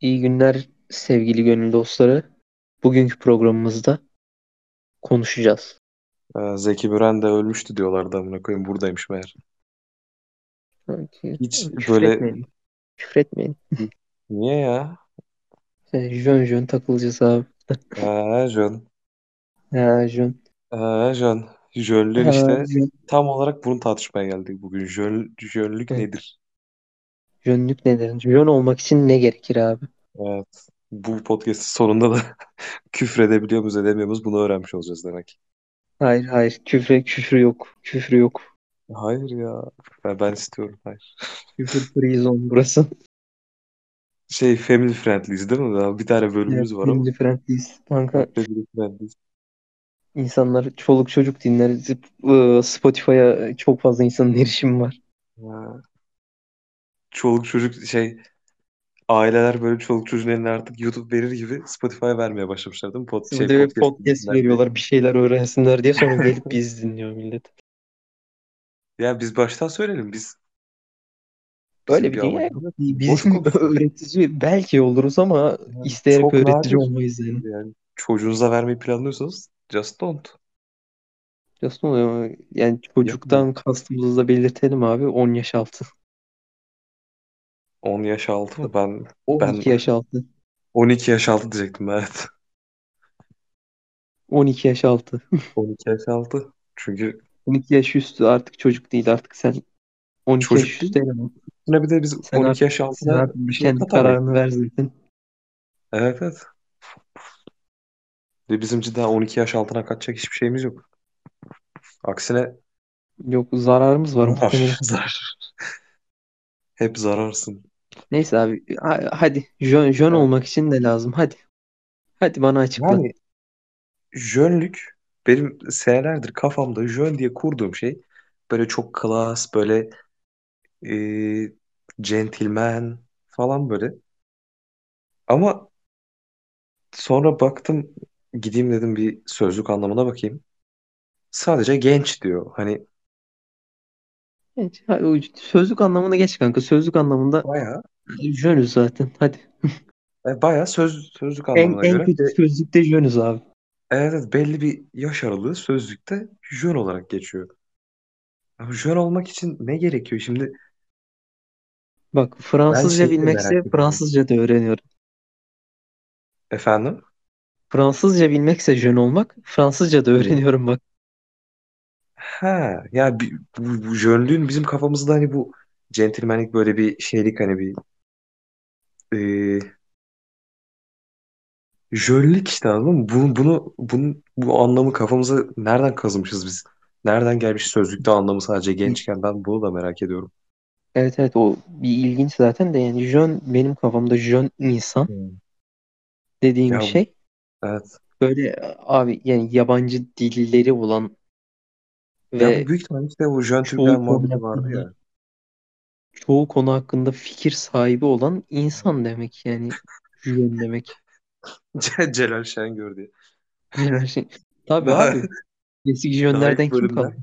İyi günler sevgili gönül dostları. Bugünkü programımızda konuşacağız. Ee, Zeki Müren de ölmüştü diyorlardı amına koyayım buradaymış meğer. Hiç Küfür böyle etmeyin. Küfür etmeyin. niye ya? Ee, Jön jön takılacağız abi. Ee, Jön. Ha, jön. Ee, Jön. Jönler Ha, işte jön. tam olarak bunu tartışmaya geldik bugün. Jön, jönlük Evet. nedir? Jönlük nedir? Jön olmak için ne gerekir abi? Evet. Bu podcast'in sonunda da küfredebiliyor muyuz edemiyor muyuz bunu öğrenmiş olacağız demek. Hayır hayır küfre küfür yok. Küfür yok. Hayır ya. Ben, ben istiyorum. Hayır. Küfür free zone burası. Şey family friendliyiz değil mi? Daha Bir tane bölümümüz var ama. Family friendliyiz. Kanka Family friendliyiz. insanlar çoluk çocuk dinler. Zip- ıı, Spotify'a çok fazla insanın erişimi var. Ha. Çoluk çocuk şey aileler böyle çoluk çocuğun eline artık YouTube verir gibi Spotify vermeye başlamışlar değil mi? Pod, şey, Şimdi de podcast podcast dinler diye. veriyorlar bir şeyler öğrensinler diye sonra gelip biz dinliyor millet. Ya biz baştan söyleyelim biz. bizim Böyle bir dünya amacımız yok. yok. Boş Bizim konuşuyoruz. öğretici belki oluruz ama Yani isteyerek çok öğretici nadir. olmayız yani. Yani çocuğunuza vermeyi planlıyorsanız just don't. Diyorsun ama yani çocuktan kastımızı da belirtelim abi 10 yaş altı. 10 yaş altı mı? Ben 12 ben yaş altı. 12 yaş altı diyecektim evet. 12 yaş altı. 12 yaş altı. Çünkü 12 yaş üstü artık çocuk değil artık sen 12 Çocuk yaş değil üstü eleman. buna bir de biz Sen 12 artık, yaş sen altına artık bir şey kendi katamayız. kararını ver zaten. Evet evet. Ve bizim daha 12 yaş altına kaçacak hiçbir şeyimiz yok. Aksine Yok zararımız var muhtemelen. Zarar. Zarar. Hep zararsın. Neyse abi ha- hadi jön, jön Evet. olmak için de lazım hadi. Hadi bana açıkla. Yani jönlük benim senelerdir kafamda jön diye kurduğum şey böyle çok klas, böyle e, centilmen falan böyle. Ama sonra baktım gideyim dedim bir sözlük anlamına bakayım. Sadece genç diyor. Hani Geç. Hadi o Sözlük anlamına geç kanka. Sözlük anlamında bayağı jönüz zaten. Hadi. e, bayağı söz, sözlük En, anlamına en göre. Bir de, kötü sözlükte jönüz abi. evet, evet, belli bir yaş aralığı sözlükte jön olarak geçiyor. Ama jön olmak için ne gerekiyor? Şimdi Bak Ben Fransızca şeyi de bilmekse merak ediyorum. Fransızca da öğreniyorum. Efendim? Fransızca bilmekse jön olmak, Fransızca da Hı. öğreniyorum bak. Ha ya bi- bu, bu jönlüğün bizim kafamızda hani bu centilmenlik böyle bir şeylik hani bir e, jönlük işte anladın mı? Bunu, bunu, bunun, bu anlamı kafamıza nereden kazımışız biz? Nereden gelmiş sözlükte anlamı sadece gençken ben bunu da merak ediyorum. Evet evet o bir ilginç zaten de yani jön benim kafamda jön insan Hı. dediğim Ya şey evet. böyle abi yani yabancı dilleri olan Ya bu ve büyük ihtimalle işte o jön çoğu Türkler konu muhabbeti vardı hakkında ya. çoğu konu hakkında fikir sahibi olan insan demek yani jön demek. Celal Şengör diye. Her şey. Tabii Daha, abi. Eski daha ilk jönlerden kim kaldı? bölümden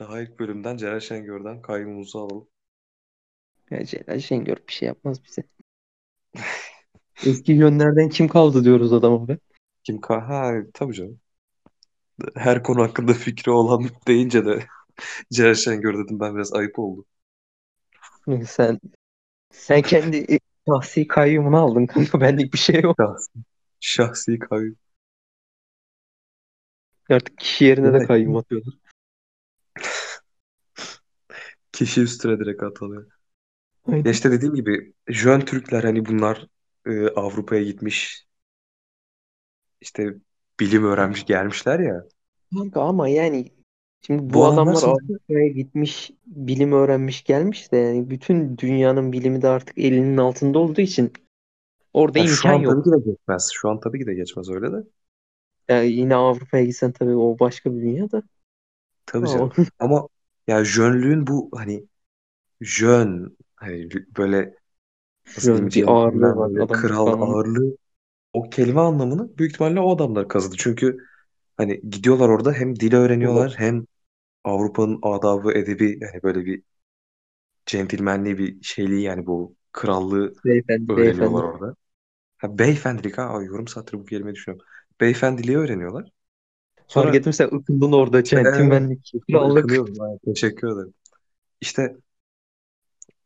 daha ilk bölümden Celal Şengör'den kaygımızı alalım. Ya Celal Şengör bir şey yapmaz bize. Eski yönlerden kim kaldı diyoruz adama be. Kim ka ha tabii canım. Her konu hakkında fikri olan deyince de Celal Şengör dedim ben biraz ayıp oldu. Çünkü Sen sen kendi e, şahsi kayyumunu aldın kanka. Benlik bir şey yok. Şahsi, şahsi kayyum. Artık kişi yerine de Evet. kayyum atıyorlar. Kişi üstüne direkt atanıyor. Ya Aynen. işte dediğim gibi Jön Türkler hani bunlar e, Avrupa'ya gitmiş işte bilim öğrenmiş gelmişler ya. Kanka ama yani şimdi Bu bu adamlar adamlar sonuçta Avrupa'ya gitmiş, bilim öğrenmiş gelmiş de yani bütün dünyanın bilimi de artık elinin altında olduğu için orada ya şu imkan an tabii yok. ki de geçmez. Şu an tabii ki de geçmez öyle de. Yani yine Avrupa'ya gitsen tabii o başka bir dünya da. Tabii Ama canım. Ama ya Jönlüğün bu hani Jön hani böyle nasıl diyeyim şöyle bir ağırlığı centilmen var böyle adamın kral kafamda. ağırlığı o kelime anlamını büyük ihtimalle o adamlar kazıdı. Çünkü hani gidiyorlar orada hem dil öğreniyorlar hem hani, Avrupa'nın adabı edebi yani böyle bir centilmenliği bir şeyliği yani bu Krallığı Beyefendi, beyefendi. öğreniyorlar orada. Ha, beyefendilik ha. Ay, Yarım saattir bu kelimeyi düşünüyorum. Beyefendiliği öğreniyorlar. Sonra Fark ettim sen ıkındın orada centilmenlik. Krallık. Kılıyorum, ha, Teşekkür ederim. İşte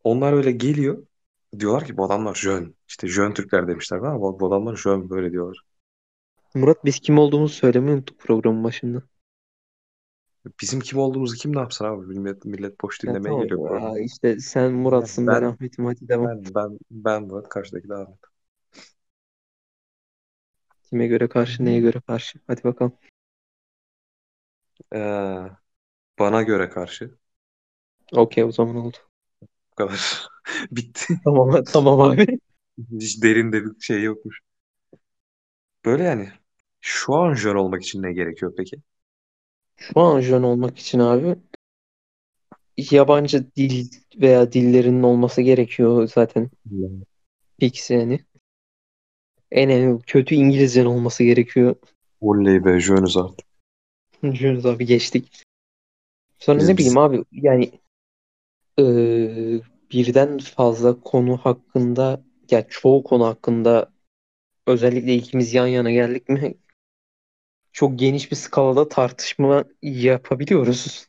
onlar öyle geliyor. Diyorlar ki bu adamlar jön. İşte jön Türkler demişler ama bu bu adamlar jön böyle diyorlar. Murat biz kim olduğumuzu söylemeyi unuttuk programın başında. Bizim kim olduğumuzu kim ne yapsın abi? Millet, millet boş Ya dinlemeye tamam geliyor. bu arada. ya işte sen Murat'sın ben, Ben- Ahmet'im hadi devam. Ben, ben, ben Murat karşıdaki de Ahmet. Kime göre karşı neye göre karşı. Hadi bakalım. Ee, bana göre karşı. Okey o zaman oldu. Bu kadar. Bitti. Tamam tamam abi. Hiç derin de bir şey yokmuş. Böyle yani. Şu an jön olmak için ne gerekiyor peki? Şu an jön olmak için abi yabancı dil veya dillerinin olması gerekiyor zaten. Fix yani. En en kötü İngilizcen olması gerekiyor. Oley be jönüz artık. Jönüz abi geçtik. Sonra Biz- ne bileyim abi yani eee, birden fazla konu hakkında ya çoğu konu hakkında özellikle ikimiz yan yana geldik mi çok geniş bir skalada tartışma yapabiliyoruz.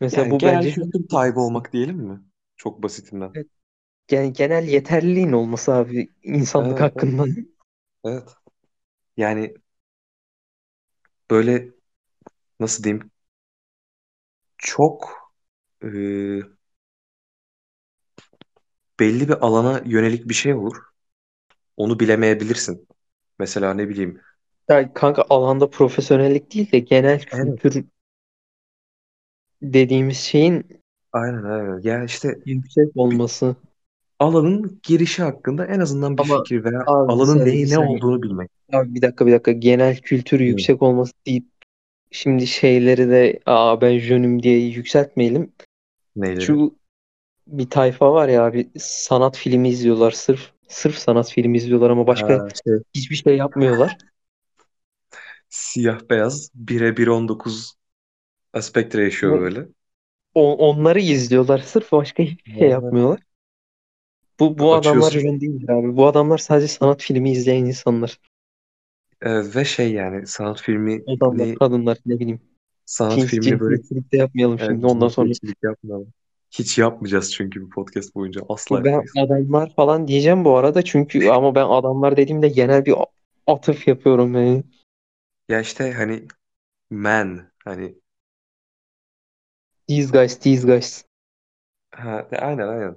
Mesela Yani bu genel bence kültür sahibi olmak diyelim mi? Çok basitinden. gen- genel yeterliliğin olması abi insanlık Evet, evet. hakkında. Evet. Yani böyle nasıl diyeyim? Çok e, belli bir alana yönelik bir şey olur. Onu bilemeyebilirsin. Mesela ne bileyim. Ya kanka alanda profesyonellik değil de genel Evet. kültür dediğimiz şeyin Aynen aynen. Ya işte yüksek olması. alanın girişi hakkında en azından bir Ama fikir veya abi bir alanın saniye, bir neyi ne saniye. olduğunu bilmek. Abi bir dakika bir dakika genel kültür yüksek olması deyip şimdi şeyleri de aa ben jönüm diye yükseltmeyelim. Neyleri? Şu bir tayfa var ya abi sanat filmi izliyorlar sırf sırf sanat filmi izliyorlar ama başka Ha, şey, hiçbir şey yapmıyorlar. siyah beyaz 1'e 1.19 aspect ratio Bu- böyle. O- onları izliyorlar sırf başka hiçbir şey Evet. yapmıyorlar. Bu bu adamlar Açıyorsun. jön değildir abi. Bu adamlar sadece sanat filmi izleyen insanlar. Ee, ve şey yani sanat filmi Adamlar, kadınlar ne bileyim. Hani sanat Cins, filmini böyle cinsiyetçilik de yapmayalım Evet, şimdi ondan sonra. cinsiyetçilik yapmayalım. Hiç yapmayacağız çünkü bu podcast boyunca asla Ben yapmayız. adamlar falan diyeceğim bu arada çünkü ama ben adamlar dediğimde genel bir atıf yapıyorum yani. Ya işte hani men hani These guys, these guys. ha, e, aynen aynen.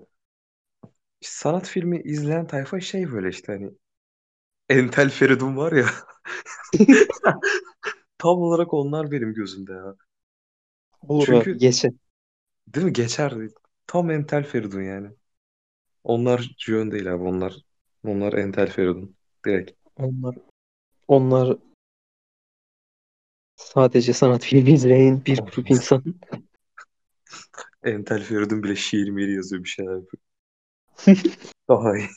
İşte sanat filmi izleyen tayfa şey böyle işte hani Entel Feridun var ya tam olarak onlar benim gözümde ya. Olur mu? Çünkü Geçin. değil mi geçer tam Entel Feridun yani. Onlar Jön değil abi onlar. Onlar Entel Feridun direkt. Onlar, onlar sadece sanat filmi izleyen bir grup insan. Entel Feridun bile şiir miri yazıyor bir şeyler yapıyor. Daha iyi.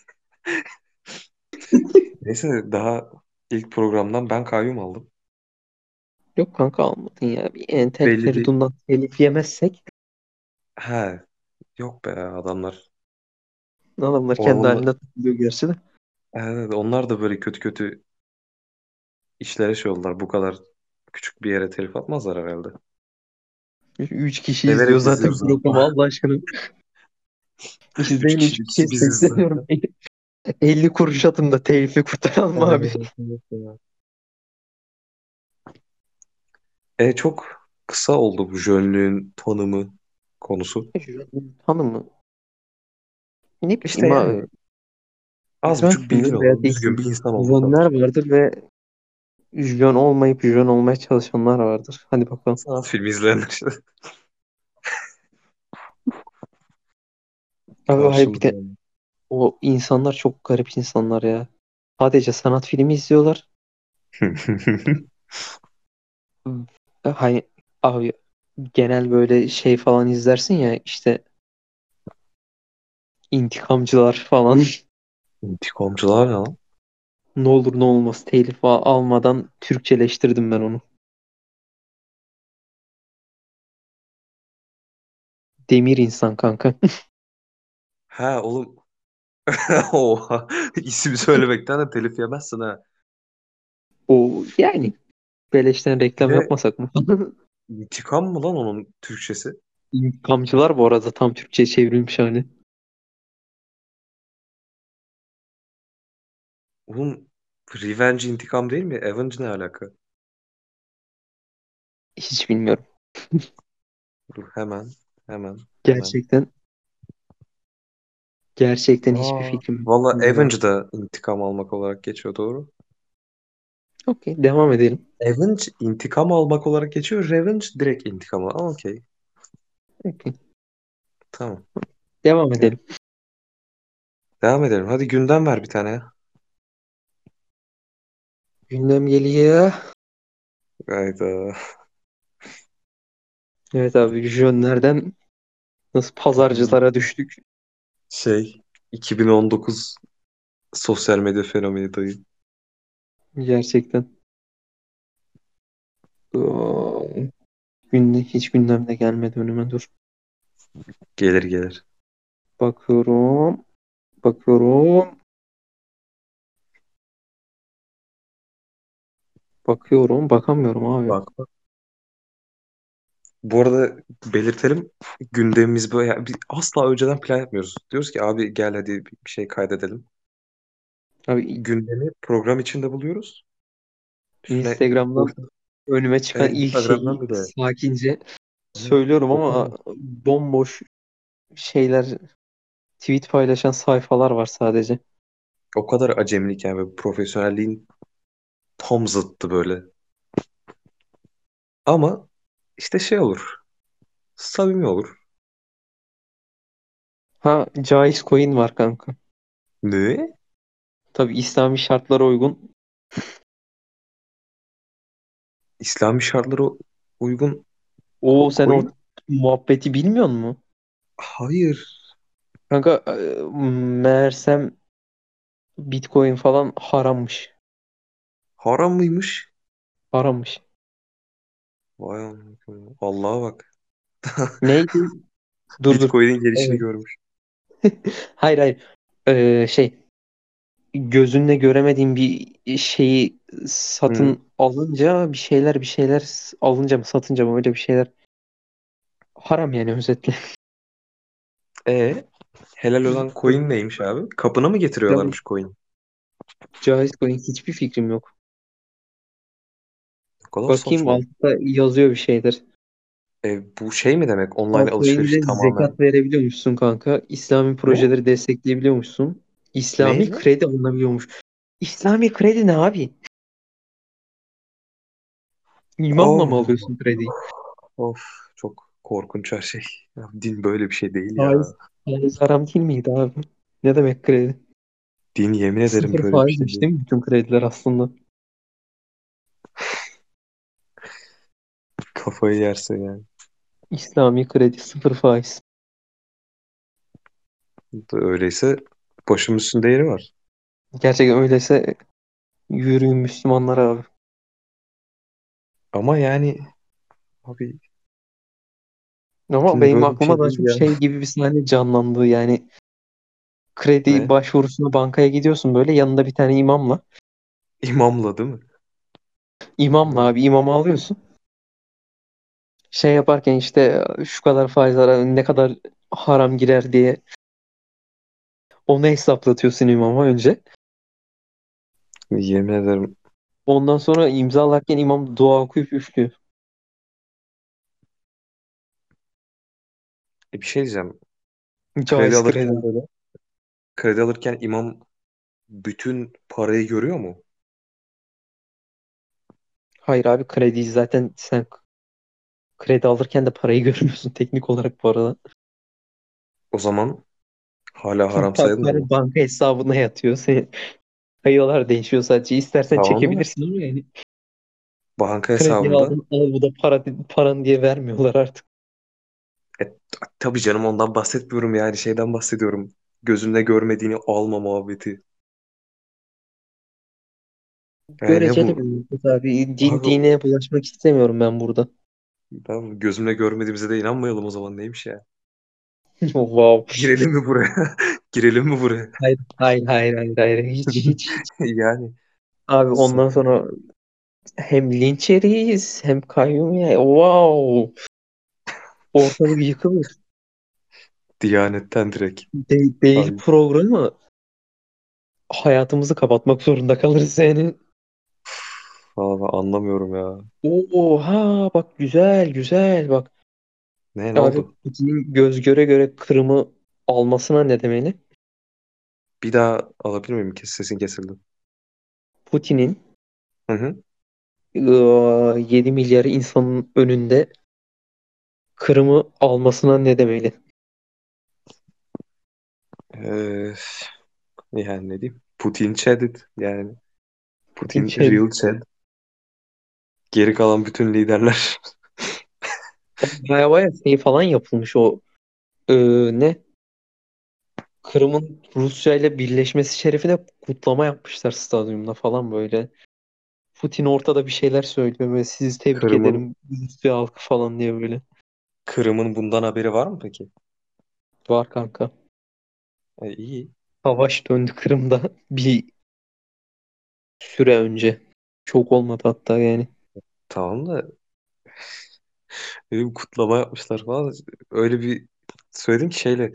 Neyse daha ilk programdan ben kayyum aldım. Yok kanka almadın ya. Bir entel Belli bir- Feridun'dan telif yemezsek He, yok be adamlar. adamlar kendi Orhan'la- halinde takılıyor gerçi de. Evet, onlar da böyle kötü kötü işlere şey oldular. Bu kadar küçük bir yere telif atmazlar herhalde. Üç kişi Severek izliyor zaten izliyoruz abi. programı Allah aşkına. İzleyin Üç üç kişi- kişi biz izliyoruz. sesleniyorum. 50 kuruş atın da telifi kurtaralım abi. E çok kısa oldu bu jönlüğün tanımı konusu. Hanımı. Ne bileyim İşte abi. yani az Jön buçuk bilgin kimdir veya olan düzgün bir değildir. insan olmak Jönler lazım. vardır ve jön olmayıp jön olmaya çalışanlar vardır. Hadi bakalım. Sanat filmi izleyenler işte. Abi hayır bir Karşımızda. de o insanlar çok garip insanlar ya. Sadece sanat filmi izliyorlar. Hani abi genel böyle şey falan izlersin ya işte intikamcılar falan. İntikamcılar ne lan? Ne olur ne olmaz telif al- almadan Türkçeleştirdim ben onu. Demir insan kanka. Ha oğlum. Oha. İsim söylemekten de telif yemezsin ha. O yani beleşten reklam Ne? yapmasak mı? İntikam mı lan onun Türkçesi? İntikamcılar bu arada tam Türkçe'ye çevrilmiş hani. Oğlum Revenge intikam değil mi? Avenge ne alaka? Hiç bilmiyorum. Dur hemen. Hemen. Hemen. Gerçekten gerçekten hiçbir Aa, fikrim yok. valla Bilmiyorum. Avenge da intikam almak olarak geçiyor doğru. Okey, devam edelim. Avenge intikam almak olarak geçiyor. Revenge direkt intikam al. Aa, Okey. Okey, Tamam. devam edelim. Devam edelim. Hadi gündem ver bir tane. Gündem geliyor. Hayda. Evet abi, jönlerden nasıl pazarcılara düştük. Şey 2019 sosyal medya fenomeni dayı. Gerçekten. Oo, Günde, hiç gündemde gelmedi önüme dur. Gelir gelir. Bakıyorum. Bakıyorum. Bakıyorum. Bakamıyorum abi. Bak bak. Bu arada belirtelim gündemimiz böyle yani biz asla önceden plan yapmıyoruz. Diyoruz ki abi gel hadi bir şey kaydedelim. Abi Gündemi program içinde buluyoruz. Üstüne Instagram'dan boşuna önüme çıkan ilk Şey, Instagram'dan şeyi bir de sakince söylüyorum ama bomboş şeyler tweet paylaşan sayfalar var sadece. o kadar acemilik yani böyle profesyonelliğin tam zıttı böyle. Ama işte şey olur. Samimi olur. Ha caiz coin var kanka. Ne? Tabii İslami şartlara uygun. İslami şartlara uygun Oo ko- sen o koyun. muhabbeti bilmiyor musun? Hayır. Kanka e, meğersem Bitcoin falan harammış. Haram mıymış? Harammış. Vay amına. Allah'a bak. Neydi? Dur dur. Bitcoin'in gelişini Evet. görmüş. Hayır hayır. Ee, şey gözünle göremediğin bir şeyi Hı. satın alınca bir şeyler bir şeyler s- alınca mı satınca mı öyle bir şeyler haram yani özetle. E helal olan coin neymiş abi? Kapına mı Caiz, getiriyorlarmış coin? caiz coin hiçbir fikrim yok. Ne kadar Bakayım saçma. altta yazıyor bir şeyler. E, bu şey mi demek? Online alışveriş Altcoin'de tamamen. zekat verebiliyormuşsun kanka. İslami Ne? projeleri destekleyebiliyormuşsun. İslami Ne ne? kredi alınabiliyormuş. İslami kredi ne abi? İmamla Of mı alıyorsun krediyi? of çok korkunç her şey. Ya, din böyle bir şey değil ya. Faiz, faiz haram değil miydi abi? Ne demek kredi? Din yemin ederim Sıfır böyle bir şey faizmiş değil. değil mi bütün krediler aslında? Kafayı yersin yani. İslami kredi sıfır faiz. Öyleyse başımın üstünde yeri var. Gerçekten öyleyse yürüyün Müslümanlar abi. Ama yani abi Ama din benim böyle bir aklıma şey daha değil çok ya. şey gibi bir sahne canlandı yani. Kredi Ne? başvurusuna bankaya gidiyorsun böyle yanında bir tane imamla. İmamla değil mi? İmamla Ne? abi imamı alıyorsun. Şey yaparken işte şu kadar faizlere ne kadar haram girer diye onu hesaplatıyorsun imama önce. Yemin ederim Ondan sonra imzalarken imam dua okuyup üflüyor. E, bir şey diyeceğim. Kredi Caiz kredi. alırken böyle kredi alırken imam bütün parayı görüyor mu? Hayır abi kredi zaten sen kredi alırken de parayı görmüyorsun teknik olarak bu arada. O zaman hala Pa- haram pa- sayılmıyor Para mu? banka hesabına yatıyor. Senin payolar değişiyor sadece. İstersen Tamam da çekebilirsin ama yani banka kredi hesabında aldın al bu da para, paran diye vermiyorlar artık. e, tabii canım ondan bahsetmiyorum yani şeyden bahsediyorum. Gözünde görmediğini alma muhabbeti. Yani ne Göreceli bir bu? muhabbet abi. Din, Abi dine bulaşmak istemiyorum ben burada. ben gözümle görmediğimize de inanmayalım o zaman neymiş ya? Wow. Girelim mi buraya? Girelim mi buraya? Hayır, hayır, hayır, hayır, hayır. Hiç, hiç, hiç. Yani Abi ondan sonra hem linç yeriyiz hem kayyum ya. Wow. Ortalık yıkılır. Diyanetten direkt. De- değil Abi. programı hayatımızı kapatmak zorunda kalırız yani. Valla ben anlamıyorum ya. Oha bak güzel güzel bak. Ne, ne Abi oldu? Putin'in göz göre göre Kırım'ı almasına ne demeli? Bir daha alabilir miyim? Kes, sesin kesildi. Putin'in Hı hı. ıı, 7 milyar insanın önünde Kırım'ı almasına ne demeli? Ee, yani ne diyeyim? Putin chat it. Yani Putin Putin şey real chat. Geri kalan bütün liderler. baya baya şey falan yapılmış o ıı, ne? Kırım'ın Rusya ile birleşmesi şerefine kutlama yapmışlar stadyumda falan böyle. Putin ortada bir şeyler söylüyor böyle sizi tebrik Kırım'ın ederim Rusya halkı falan diye böyle. Kırım'ın bundan haberi var mı peki? Var kanka. E, iyi. Savaş döndü Kırım'da bir süre önce. Çok olmadı hatta yani. Tamam da e, kutlama yapmışlar falan. Öyle bir söyledim ki şeyle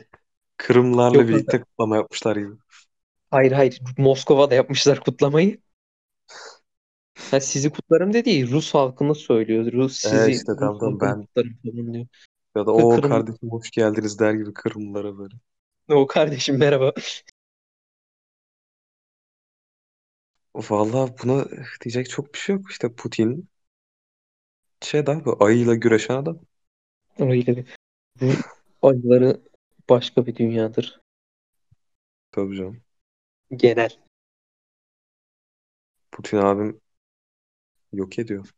Kırımlarla Yok kanka. birlikte kutlama yapmışlar gibi. Hayır hayır. Moskova'da yapmışlar kutlamayı. Ha, sizi kutlarım de değil. Rus halkını söylüyor. Rus E sizi işte Rus tamam tamam halkını ben kutlarım falan diyor. ya da Ka- o Kırım kardeşim hoş geldiniz der gibi Kırımlara böyle. o kardeşim merhaba. Vallahi buna diyecek çok bir şey yok. İşte Putin şey daha bu ayıyla güreşen adam. Öyle bir. Rus acıları başka bir dünyadır. Tabii canım. Genel. Putin abim yok ediyor.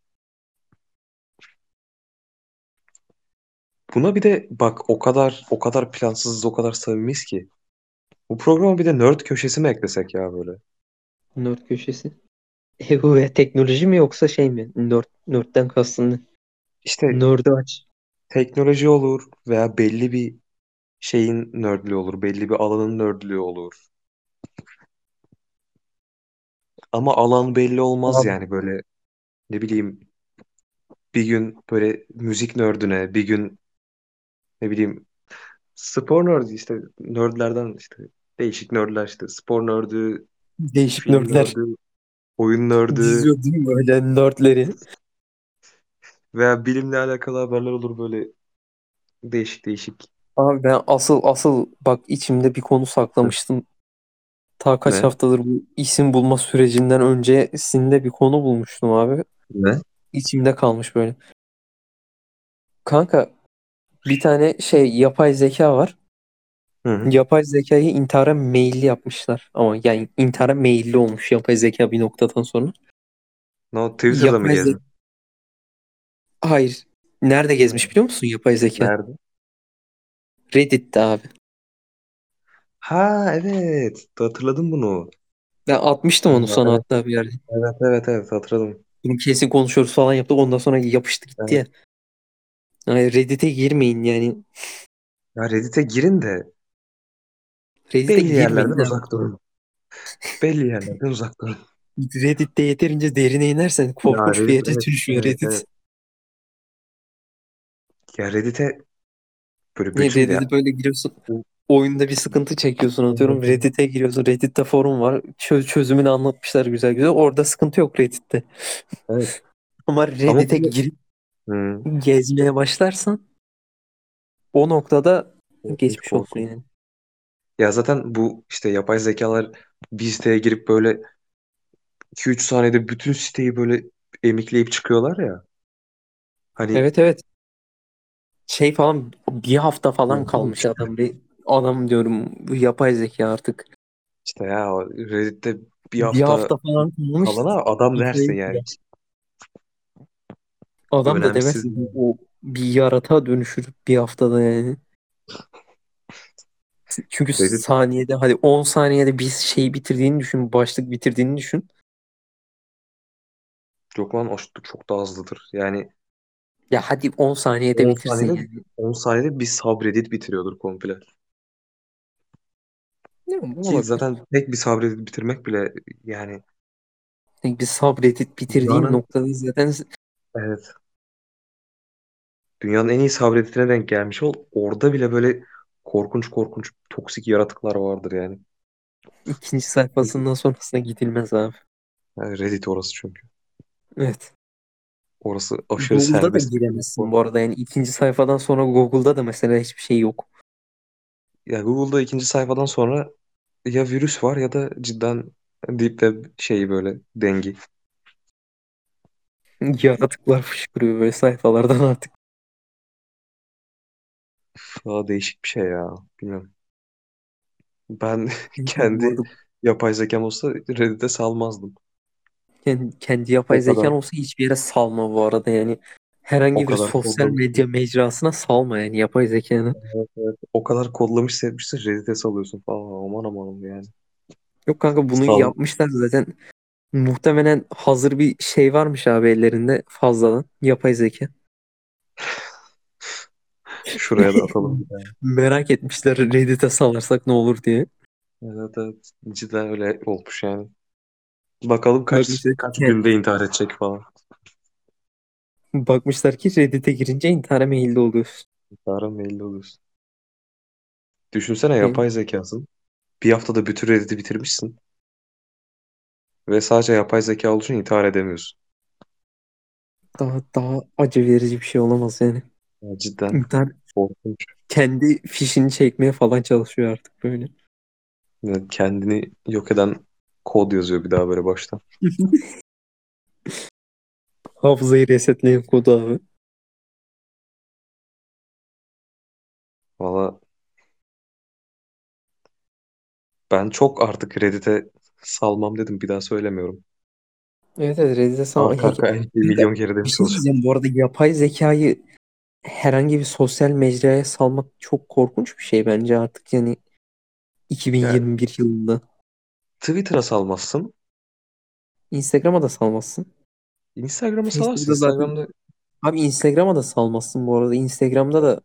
Buna bir de bak o kadar o kadar plansızız o kadar samimiyiz ki. Bu programa bir de nerd köşesi mi eklesek ya böyle? Nerd köşesi. EU ve teknoloji mi yoksa şey mi? Nerd, nerdden kastın ne? İşte Nerd'i aç. teknoloji olur veya belli bir şeyin nerdlüğü olur. Belli bir alanın nerdlüğü olur. Ama alan belli olmaz Abi. yani böyle ne bileyim bir gün böyle müzik nerdüne bir gün ne bileyim spor nerdi işte nerdlerden işte değişik nerdler işte spor nerdi, Değişik film nerdler nerdi, oyun nerdi diziyor değil mi böyle nerdleri? veya bilimle alakalı haberler olur böyle değişik değişik. Abi ben asıl asıl bak içimde bir konu saklamıştım. Ta kaç Ne? haftadır bu isim bulma sürecinden öncesinde bir konu bulmuştum abi. Ne? İçimde kalmış böyle. Kanka bir tane şey yapay zeka var. Hı hı. Yapay zekayı intihara meyilli yapmışlar. Ama yani intihara meyilli olmuş yapay zeka bir noktadan sonra. No, Twitter'da mı Yapay zeka... gezdin? Hayır. Nerede Hı. gezmiş biliyor musun yapay zeka? Nerede? Reddit'te abi. Ha evet hatırladım bunu. Ben atmıştım onu Ya, sana Evet hatta bir yerde. evet evet, evet hatırladım. Bunu kesin konuşuyoruz falan yaptık. Ondan sonra yapıştı gitti Evet. ya. Hayır Reddit'e girmeyin yani. Ya Reddit'e girin de Reddit'e belli yerlerden girmeyin abi. uzak durun. Belli yerlerden uzak durun. Reddit'te yeterince derine inersen Ya korkunç bir Reddit yere evet dönüşüyor evet Reddit. evet. Ya Reddit'e böyle Ne bütün ya Reddit'e böyle giriyorsun. Oyunda bir sıkıntı çekiyorsun atıyorum. Reddit'e giriyorsun. Reddit'te forum var. Çö- çözümünü anlatmışlar güzel güzel. Orada sıkıntı yok Reddit'te. Evet. Ama Ama Reddit'e bunu girip Hı. gezmeye başlarsan o noktada korkunç geçmiş olsun korkunç. yani. Ya zaten bu işte yapay zekalar bir siteye girip böyle 2-3 saniyede bütün siteyi böyle emikleyip çıkıyorlar ya. Hani Evet evet. Şey falan bir hafta falan kalmış adam. Re- Adam diyorum bu yapay zeka artık. işte ya o Reddit'te bir Bir hafta hafta falan kalmış. kalana adam dersin Kafayı yani. yer. Adam da Önemsiz. demezsin bu o bir yaratığa dönüşür bir haftada yani. Çünkü Reddit saniyede hadi 10 saniyede bir şeyi bitirdiğini düşün. Başlık bitirdiğini düşün. yok lan o çok daha hızlıdır. Yani Ya hadi 10 saniyede 10 bitirsin. saniyede, yani. 10 saniyede bir subreddit bitiriyordur komple. Ne Ki olabilir? zaten tek bir subreddit bitirmek bile yani Hani bir subreddit bitirdiğim Dünyanın- noktada zaten evet. Dünyanın en iyi subredditine denk gelmiş ol. Orada bile böyle korkunç korkunç toksik yaratıklar vardır yani. ikinci sayfasından sonrasına gidilmez abi. Yani Reddit orası çünkü. Evet. Orası aşırı Google'da da serbest. giremezsin bu arada. Yani ikinci sayfadan sonra Google'da da mesela hiçbir şey yok. Ya Google'da ikinci sayfadan sonra ya virüs var ya da cidden deep web şeyi böyle dengi. Yaratıklar fışkırıyor böyle sayfalardan artık. Daha değişik bir şey ya. Bilmiyorum. Ben kendi Bu arada yapay zekam olsa Reddit'e salmazdım. Kendi, kendi yapay O kadar. zekan olsa hiçbir yere salma bu arada yani. Herhangi O bir kadar sosyal korkunç. medya mecrasına salma yani yapay zekanı. O kadar kodlamış sevmişsin Reddit'e salıyorsun falan. Aman aman yani. Yok kanka bunu Salma. yapmışlar zaten. Muhtemelen hazır bir şey varmış abi ellerinde fazladan yapay zeka. Şuraya da atalım. Yani. Merak etmişler Reddit'e salarsak ne olur diye. Evet, evet. Cidden öyle olmuş yani. Bakalım kaç, Bakmışlar, kaç kendi- günde intihar edecek falan. bakmışlar ki Reddit'e girince intihara meyilli oluyorsun. İntihara meyilli oluyorsun. Düşünsene Benim- yapay zekasın. Bir haftada bütün Reddit'i bitirmişsin. Ve sadece yapay zeka olduğu için intihar edemiyorsun. Daha daha acı verici bir şey olamaz yani. Ya cidden İntihar korkunç. kendi fişini çekmeye falan çalışıyor artık böyle. Ya kendini yok eden kod yazıyor bir daha böyle baştan. Hafızayı resetleyen kodu abi. Valla ben çok artık Reddit'e salmam dedim. Bir daha söylemiyorum. Evet evet Reddit'e sal. Arka arka en iyi milyon kere Bir demiş şey olacağım. diyeceğim bu arada yapay zekayı herhangi bir sosyal mecraya salmak çok korkunç bir şey bence artık yani 2021 yılında. Twitter'a salmazsın. Instagram'a da salmazsın. Instagram'a Facebook'ta salarsın. zaten- Instagram'da Abi Instagram'a da salmazsın bu arada. Instagram'da da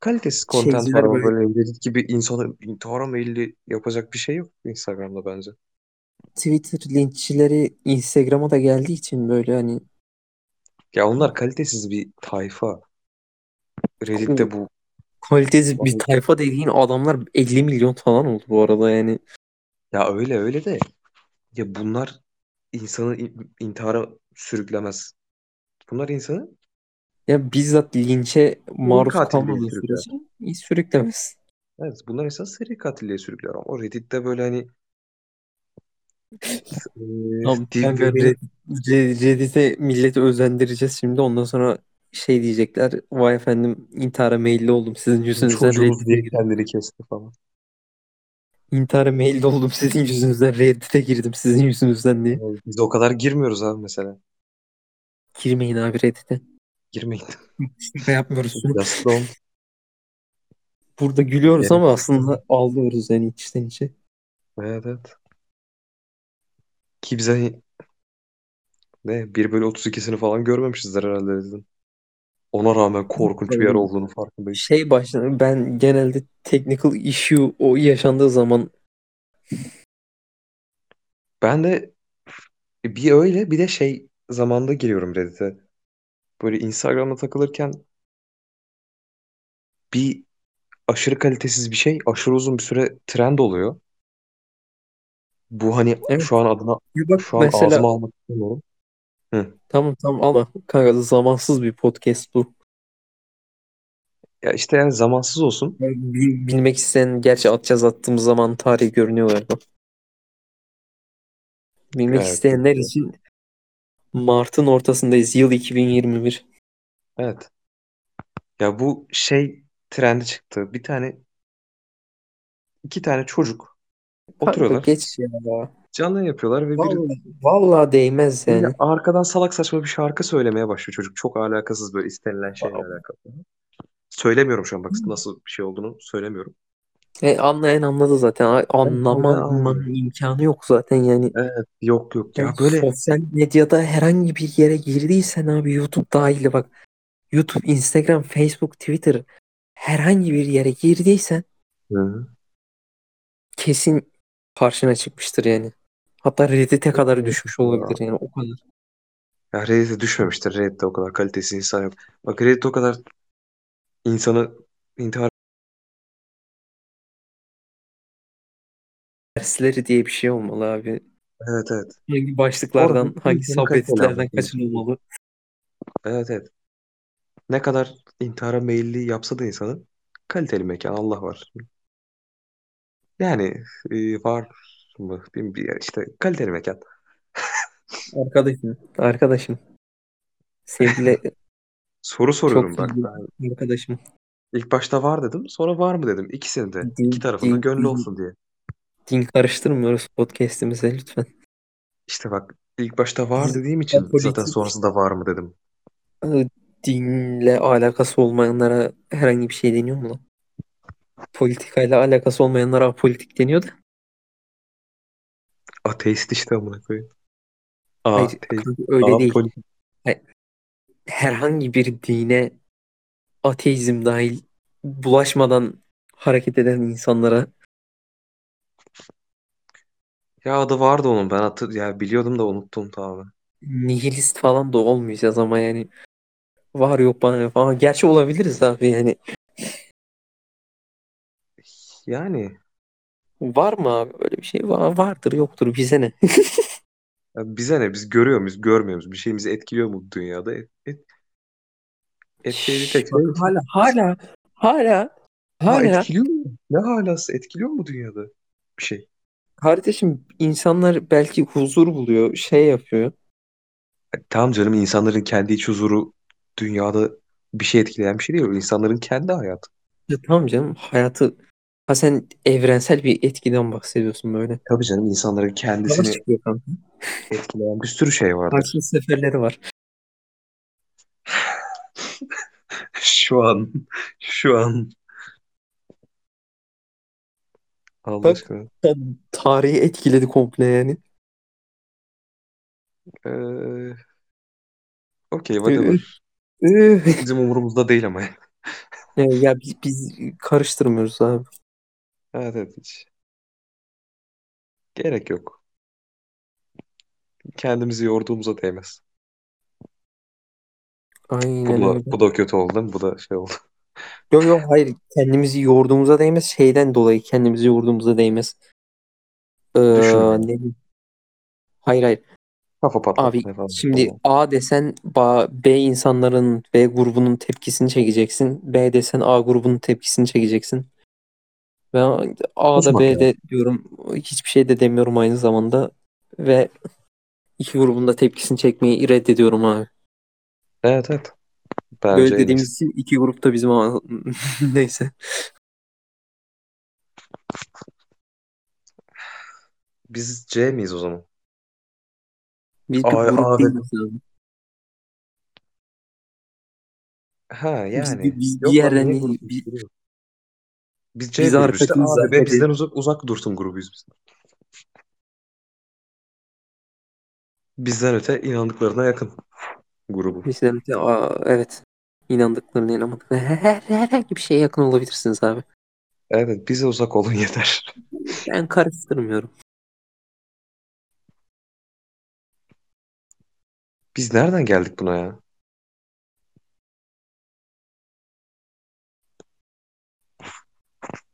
kalitesiz content var Şeyciler ama böyle- böyle Reddit gibi insanı intihara meyilli yapacak bir şey yok Instagram'da bence. Twitter linççileri Instagram'a da geldiği için böyle hani Ya onlar kalitesiz bir tayfa. Reddit'te bu kaliteli bir tayfa dediğin adamlar 50 milyon falan oldu bu arada yani. ya öyle öyle de ya bunlar insanı in- intihara sürüklemez. Bunlar insanı Ya bizzat linçe maruz katilliği kalmadığı sürükler. sürece iyi sürüklemez. evet bunlar insan seri katilliğe sürükler ama Reddit'te böyle hani eee, Tamam deep kanka web'in- Red- Red- Reddit'e milleti özendireceğiz şimdi ondan sonra şey diyecekler. Vay efendim intihara meyilli oldum sizin yüzünüzden çocuğumuz Reddit'e diye girdim. kendini kesti falan. İntihara meyilli oldum sizin yüzünüzden Reddit'e girdim sizin yüzünüzden diye. Yani Biz o kadar girmiyoruz abi mesela. Girmeyin abi Reddit'e. Girmeyin. Şaka Şey yapmıyoruz. Just don't. Burada gülüyoruz Evet. ama aslında ağlıyoruz yani içten içe. Evet evet. Ki biz hani ne 1 bölü 32'sini falan görmemişizdir herhalde Reddit'in. Ona rağmen korkunç bir yer olduğunu farkındayız. Şey başladı ben genelde technical issue o yaşandığı zaman Ben de bir öyle bir de şey zamanda giriyorum Reddit'e. Böyle Instagram'da takılırken bir aşırı kalitesiz bir şey aşırı uzun bir süre trend oluyor. Bu hani Evet. şu an adına Ya bak şu an mesela ağzıma almak istemiyorum. tamam tamam ama kanka zamansız bir podcast bu. Ya işte yani zamansız olsun. Yani bil- Bilmek isteyen gerçi atacağız attığımız zaman tarih görünüyor galiba. Bilmek Evet. isteyenler için Mart'ın ortasındayız. Yıl 2021. Evet. Ya bu şey trendi çıktı. Bir tane iki tane çocuk Kanka oturuyorlar. geç ya. Canlı yayın yapıyorlar ve biri Vallahi, vallahi değmez Böyle yani. arkadan salak saçma bir şarkı söylemeye başlıyor çocuk. Çok alakasız böyle istenilen şeyle Aa. alakalı. Söylemiyorum şu an bak nasıl bir şey olduğunu söylemiyorum. E, anlayan anladı zaten. Anlamanın anladım. imkanı yok zaten yani. Evet yok yok Yani ya böyle sosyal medyada herhangi bir yere girdiysen abi YouTube dahil bak YouTube, Instagram, Facebook, Twitter herhangi bir yere girdiysen Hı. kesin karşına çıkmıştır yani. Hatta Reddit'e kadar düşmüş olabilir yani o kadar. Ya Reddit'e düşmemiştir. Reddit'te o kadar kalitesiz insan yok. Bak Reddit o kadar insanı intihar Dersleri diye bir şey olmalı abi. Evet evet. Hangi başlıklardan, Orada hangi insanı subredditlerden kaçırıyor. kaçınılmalı? Evet evet. Ne kadar intihara meyilli yapsa da insanın kaliteli mekan Allah var. Yani e, var mı? Bilmiyorum. Bir- işte kaliteli mekan. Arkadaşım, arkadaşım. Sevgili Soru soruyorum bak. sevgili arkadaşım. İlk başta var dedim. Sonra var mı dedim. İkisini de. Din- İki tarafında din- gönlü din- olsun diye. Din karıştırmıyoruz podcast'imize lütfen. İşte bak ilk başta var Din- dediğim için politik- zaten sonrasında var mı dedim. Ee, Dinle alakası olmayanlara herhangi bir şey deniyor mu lan? Politikayla alakası olmayanlara apolitik deniyor da. Ateist işte amına koyayım. Hayır, Ateist. kanka öyle değil. Apolitik. herhangi bir dine ateizm dahil bulaşmadan hareket eden insanlara Ya adı vardı onun ben hatır ya biliyordum da unuttum tamamen. nihilist falan da olmayacağız ama yani var yok bana yok. Ama gerçi olabiliriz abi yani. Yani Var mı abi böyle bir şey? Var, vardır yoktur bize ne? ya bize ne biz görüyor muyuz görmüyor muyuz bir şeyimizi etkiliyor mu bu dünyada? Et, et, etkilediği tek şey- hala hala hala Ha, hala etkiliyor mu? Ne halası etkiliyor mu dünyada bir şey? kardeşim insanlar belki huzur buluyor, şey yapıyor. Tamam canım insanların kendi iç huzuru dünyada bir şey etkileyen bir şey değil. İnsanların kendi hayatı. Ya tamam canım hayatı ha sen evrensel bir etkiden bahsediyorsun böyle. Tabii canım insanların kendisini Savaş çıkıyor kanka. etkileyen bir sürü şey vardır. Karşı seferleri var. Şu an. Şu an. Allah Bak. aşkına. Sen tarihi etkiledi komple yani. Ee, Ee, okey whatever. Üh. Bizim umurumuzda değil ama. Ee, ya biz, biz karıştırmıyoruz abi. Evet evet hiç. Gerek yok. Kendimizi yorduğumuza değmez. Bu Aynen öyle. da, bu da kötü oldu değil mi? Bu da şey oldu. Yok yok hayır kendimizi yorduğumuza değmez şeyden dolayı kendimizi yorduğumuza değmez. Ee, Düşünme. ne diyeyim? Hayır hayır. Kafa Abi patlatma falan. şimdi A desen ba- B insanların B grubunun tepkisini çekeceksin. B desen A grubunun tepkisini çekeceksin. Ben A'da Konuşmak B'de diyorum hiçbir şey de demiyorum aynı zamanda ve iki grubun da tepkisini çekmeyi reddediyorum abi. Evet evet. Bence Böyle en iyisi. dediğimiz için iki grupta bizim ama neyse. Biz C miyiz o zaman? Biz bir Ay, grup abi. değiliz abi. Ha Biz- yani. biz- biz bir Yok lan, yerden değil, niye grubuz? bir- Biz hani Biz C biz grubuyuz işte. arkasıyız Abi arkadaş. ve bizden uzak, uzak dursun grubuyuz biz. Bizden öte inandıklarına yakın grubu. Mesela bir şey de, aa, evet inandıklarına inanmadıklarına her, her- herhangi bir şeye yakın olabilirsiniz abi. Evet bize uzak olun yeter. Ben karıştırmıyorum. Biz nereden geldik buna ya?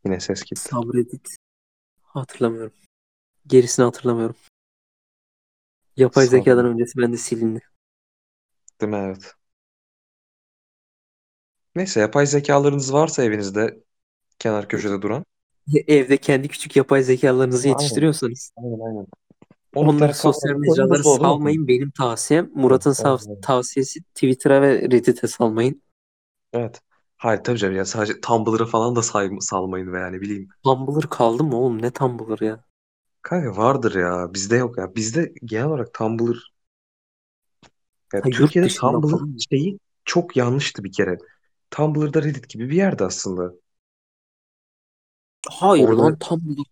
Yine ses gitti. Sabredit. Hatırlamıyorum. Gerisini hatırlamıyorum. Yapay Sabredit. zekadan öncesi bende silindi. Değil mi? Evet. Neyse yapay zekalarınız varsa evinizde kenar köşede duran. Evde kendi küçük yapay zekalarınızı Aynen. yetiştiriyorsanız Aynen aynen. onları sosyal mecralara salmayın. Benim tavsiyem Murat'ın Evet, sav- aynen. tavsiyesi Twitter'a ve Reddit'e salmayın. Evet. Hayır tabii canım ya sadece Tumblr'ı falan da say salmayın ve yani bileyim. Tumblr kaldı mı oğlum? Ne Tumblr ya? Kanka vardır ya bizde yok ya. Bizde genel olarak Tumblr ya Ha, yurt Türkiye'de dışında Tumblr falan mı? şeyi çok yanlıştı bir kere. Tumblr'da Reddit gibi bir yerde aslında. Hayır Orada- lan Tumblr.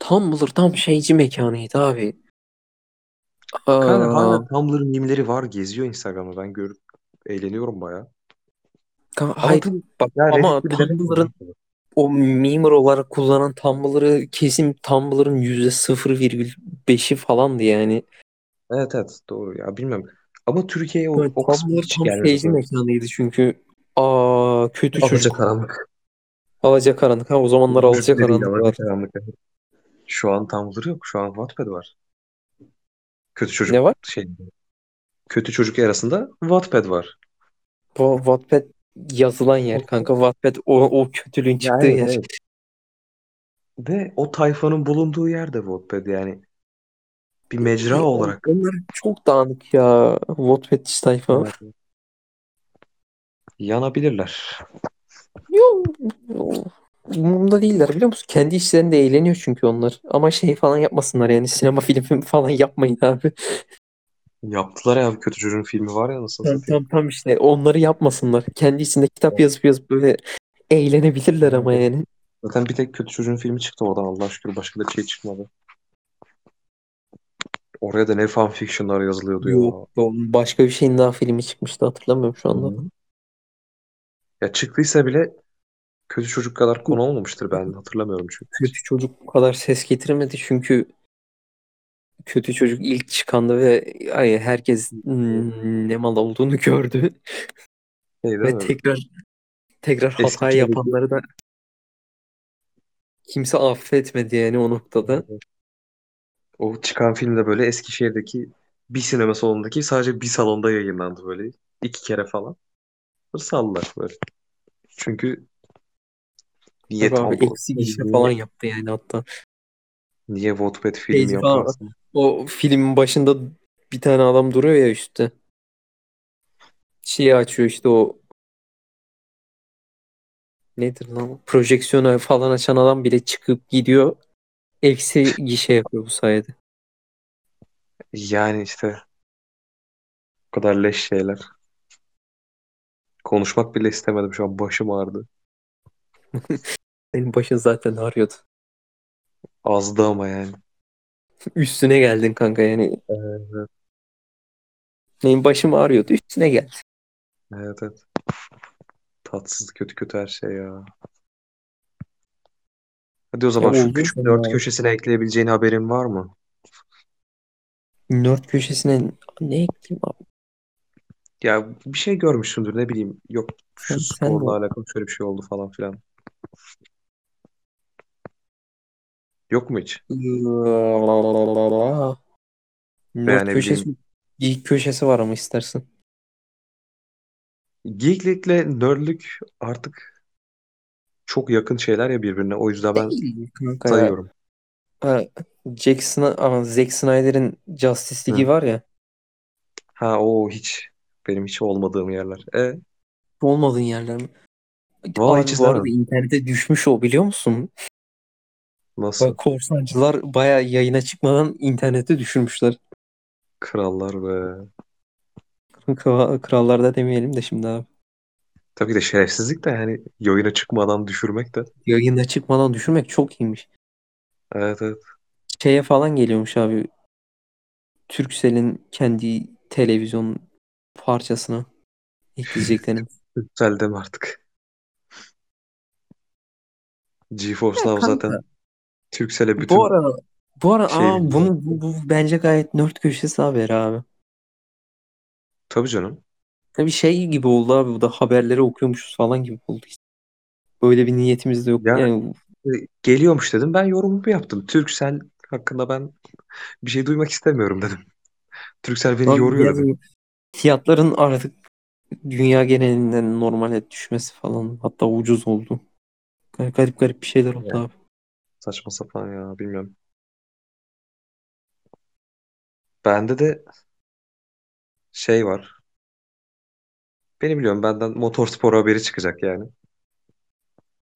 Tumblr tam şeyci mekanıydı abi. Kanka Aa, hala Tumblr mimleri var geziyor Instagram'da ben görüp eğleniyorum baya. Kanka, hayır Ama bu- bak ya ama Reddit'te bir demek Tumblr'ın yok. o meme olarak kullanan Tumblr'ı kesin Tumblr'ın %0,5'i falandı yani. Evet evet doğru ya bilmiyorum. Ama Türkiye'ye o, Evet, o kısmı Tumblr hiç tam gelmedi. seyirci mekanıydı çünkü. Aa kötü çocuk. Alacakaranlık. Alacakaranlık. Ha o zamanlar alacakaranlık Dediğiyle var. alacakaranlık. Şu an Tumblr yok. Şu an Wattpad var. Kötü çocuk Ne var? şey. Kötü çocuk arasında Wattpad var. Bu Wattpad yazılan yer kanka. Wattpad o, o kötülüğün çıktığı evet, yer. evet. Ve o tayfanın bulunduğu yer de Wattpad yani. Bir mecra olarak. Onlar çok dağınık ya. Wattpad sayfa. Yanabilirler. Yok. Umurumda değiller biliyor musun? Kendi işlerinde eğleniyor çünkü onlar. Ama şey falan yapmasınlar yani sinema filmi falan yapmayın abi. Yaptılar ya kötü çocuğun filmi var ya nasıl Tam satayım. tam, tam işte onları yapmasınlar. Kendi içinde kitap yazıp yazıp böyle eğlenebilirler ama yani. Zaten bir tek kötü çocuğun filmi çıktı oradan Allah şükür. Başka da bir şey çıkmadı. Oraya da ne fanfictionlar yazılıyordu ya. Yok oğlum, başka bir şeyin daha filmi çıkmıştı hatırlamıyorum şu anda. Ya çıktıysa bile kötü çocuk kadar konu olmamıştır ben hatırlamıyorum çünkü. Kötü çocuk bu kadar ses getirmedi çünkü kötü çocuk ilk çıkanda ve ay, herkes hmm, ne mal olduğunu gördü. Şey değil Ve mi? tekrar tekrar Eski hata çocuk. yapanları da kimse affetmedi yani o noktada. O çıkan film de böyle Eskişehir'deki bir sinema salonundaki sadece bir salonda yayınlandı böyle. iki kere falan. Böyle Sallar böyle. Çünkü niye Tabii abi Tumblr, eksi gişe niye- falan yaptı yani hatta. niye Wattpad filmi Teyze falan- yaparsın? O filmin başında bir tane adam duruyor ya üstte. Şeyi açıyor işte o nedir lan? o? Projeksiyonu falan açan adam bile çıkıp gidiyor. Eksi gişe yapıyor bu sayede. Yani işte o kadar leş şeyler. Konuşmak bile istemedim şu an başım ağrıdı. Senin başın zaten ağrıyordu. Azdı ama yani. Üstüne geldin kanka yani. Benim başım ağrıyordu üstüne geldi. Evet evet. Tatsız kötü kötü her şey ya. Hadi o zaman Ya şu oldu küçük mu dört ya? köşesine ekleyebileceğin haberin var mı? Nerd köşesine ne ekleyeyim abi? Ya bir şey görmüşsündür ne bileyim. Yok şu Sen- sen skorla de- alakalı şöyle bir şey oldu falan filan. Yok mu hiç? Nerd ne köşesi ilk köşesi var ama istersen. Geeklikle nerdlük artık çok yakın şeyler ya birbirine. O yüzden ben Değil kanka ya. sayıyorum. Ha, Jack, Sny- aa, Zack Snyder'in Justice League'i Hı. var ya. Ha o hiç. Benim hiç olmadığım yerler. E, Olmadığın yerler mi? Vallahi Abi hiç bu arada izlemedim. internete düşmüş o biliyor musun? nasıl? Bak, korsancılar baya yayına çıkmadan internete düşürmüşler. Krallar be. Kra- Krallarda demeyelim de şimdi abi. Tabii ki de şerefsizlik de yani yayına çıkmadan düşürmek de. Yayına çıkmadan düşürmek çok iyiymiş. Evet evet. Şeye falan geliyormuş abi. Turkcell'in kendi televizyon parçasına ekleyeceklerini. Güzel deme artık. GeForce Ya Now kanka, zaten Turkcell'e bütün bu ara bu ara şey aa, bilmiyorum. bunu bu, bu bence gayet nerd köşesi haberi abi. tabii canım. Bir şey gibi oldu abi bu da haberleri okuyormuşuz falan gibi oldu. Böyle bir niyetimiz de yok. Ya- Yani E, Geliyormuş dedim. Ben yorumumu yaptım. Turkcell hakkında ben bir şey duymak istemiyorum dedim. Turkcell beni Abi yoruyor biraz dedim. Fiyatların artık dünya genelinden normale düşmesi falan hatta ucuz oldu. Garip garip, garip bir şeyler oldu Ya. abi. Saçma sapan ya bilmiyorum. Bende de şey var. Beni biliyorum benden motorspor haberi çıkacak yani.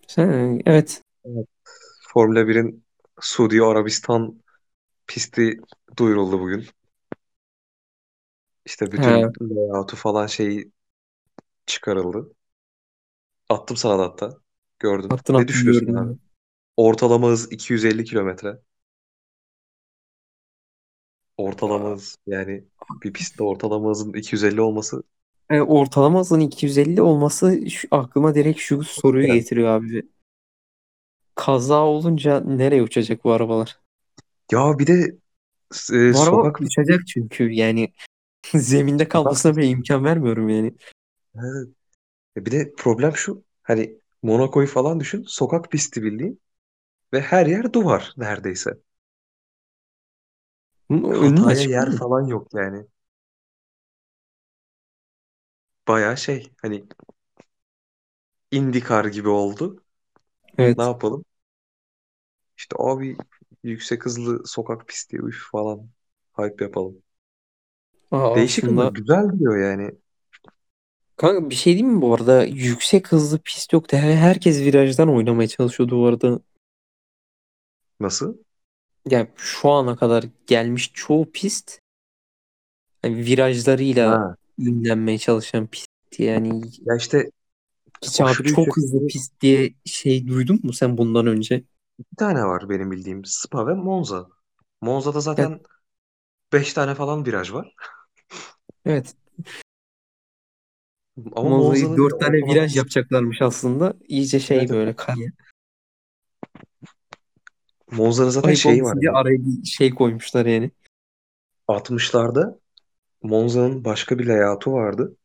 Sen, evet. Formula 1'in Suudi Arabistan pisti duyuruldu bugün. İşte bütün layout'u falan şeyi çıkarıldı. Attım sana da hatta. Gördün. Attın ne attın düşünüyorsun gördüm abi? ya. Ortalama hız 250 kilometre. Ortalama hız yani bir pistte ortalama hızın 250 olması e, ortalama hızın 250 olması şu- aklıma direkt şu soruyu Evet. getiriyor abi. Kaza olunca nereye uçacak bu arabalar? Ya bir de e, Bu araba sokak uçacak çünkü yani zeminde kalmasına bile imkan vermiyorum yani. Evet. E Bir de problem şu. Hani Monaco'yu falan düşün. Sokak pisti bildiğin. Ve her yer duvar neredeyse. Bunun önünü Hataya açık yer mı? falan yok yani. Baya şey hani IndyCar gibi oldu. Evet. Ne yapalım? İşte abi yüksek hızlı sokak pisti üf falan hype yapalım. Aa, Değişik ama aslında. güzel diyor yani. Kanka bir şey diyeyim mi bu arada? Yüksek hızlı pist yoktu. Her- Herkes virajdan oynamaya çalışıyordu bu arada. Nasıl? Yani şu ana kadar gelmiş çoğu pist yani virajlarıyla Ha. ünlenmeye çalışan pist. Yani Ya işte hiç abi aşırı yüksek çok hızlı pist diye şey duydun mu sen bundan önce? Bir tane var benim bildiğim. Spa ve Monza. Monza'da zaten 5 tane falan viraj var. Evet. Ama Monza'yı Monza'nın bir de 4 tane ortalama- viraj yapacaklarmış aslında. İyice şey Evet, evet. böyle kaya. Monza'nın zaten Ayıp şeyi var. olmasın diye yani. araya bir şey koymuşlar yani. 60'larda Monza'nın başka bir layout'u vardı.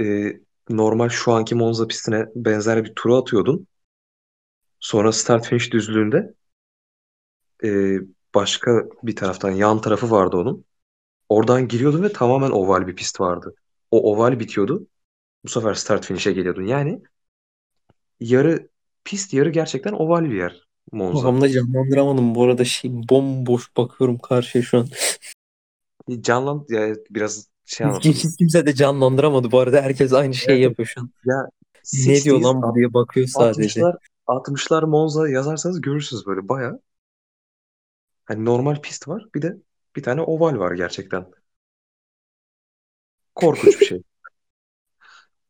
Ee, normal şu anki Monza pistine benzer bir turu atıyordun. Sonra start finish düzlüğünde ee, başka bir taraftan yan tarafı vardı onun. Oradan giriyordun ve tamamen oval bir pist vardı. O oval bitiyordu. Bu sefer start finish'e geliyordun. Yani yarı pist yarı gerçekten oval bir yer Monza. Kafamda canlandıramadım bu arada şey bomboş bakıyorum karşıya şu an. Canlan ya biraz şey anlatayım. Hiç kimse de canlandıramadı bu arada. Herkes aynı şeyi Evet. yapıyor şu an. Ya Ne diyor 60s, lan bu diye bakıyor sadece. 60'lar 60'lar Monza yazarsanız görürsünüz böyle baya. Hani normal pist var. Bir de bir tane oval var gerçekten. Korkunç bir şey.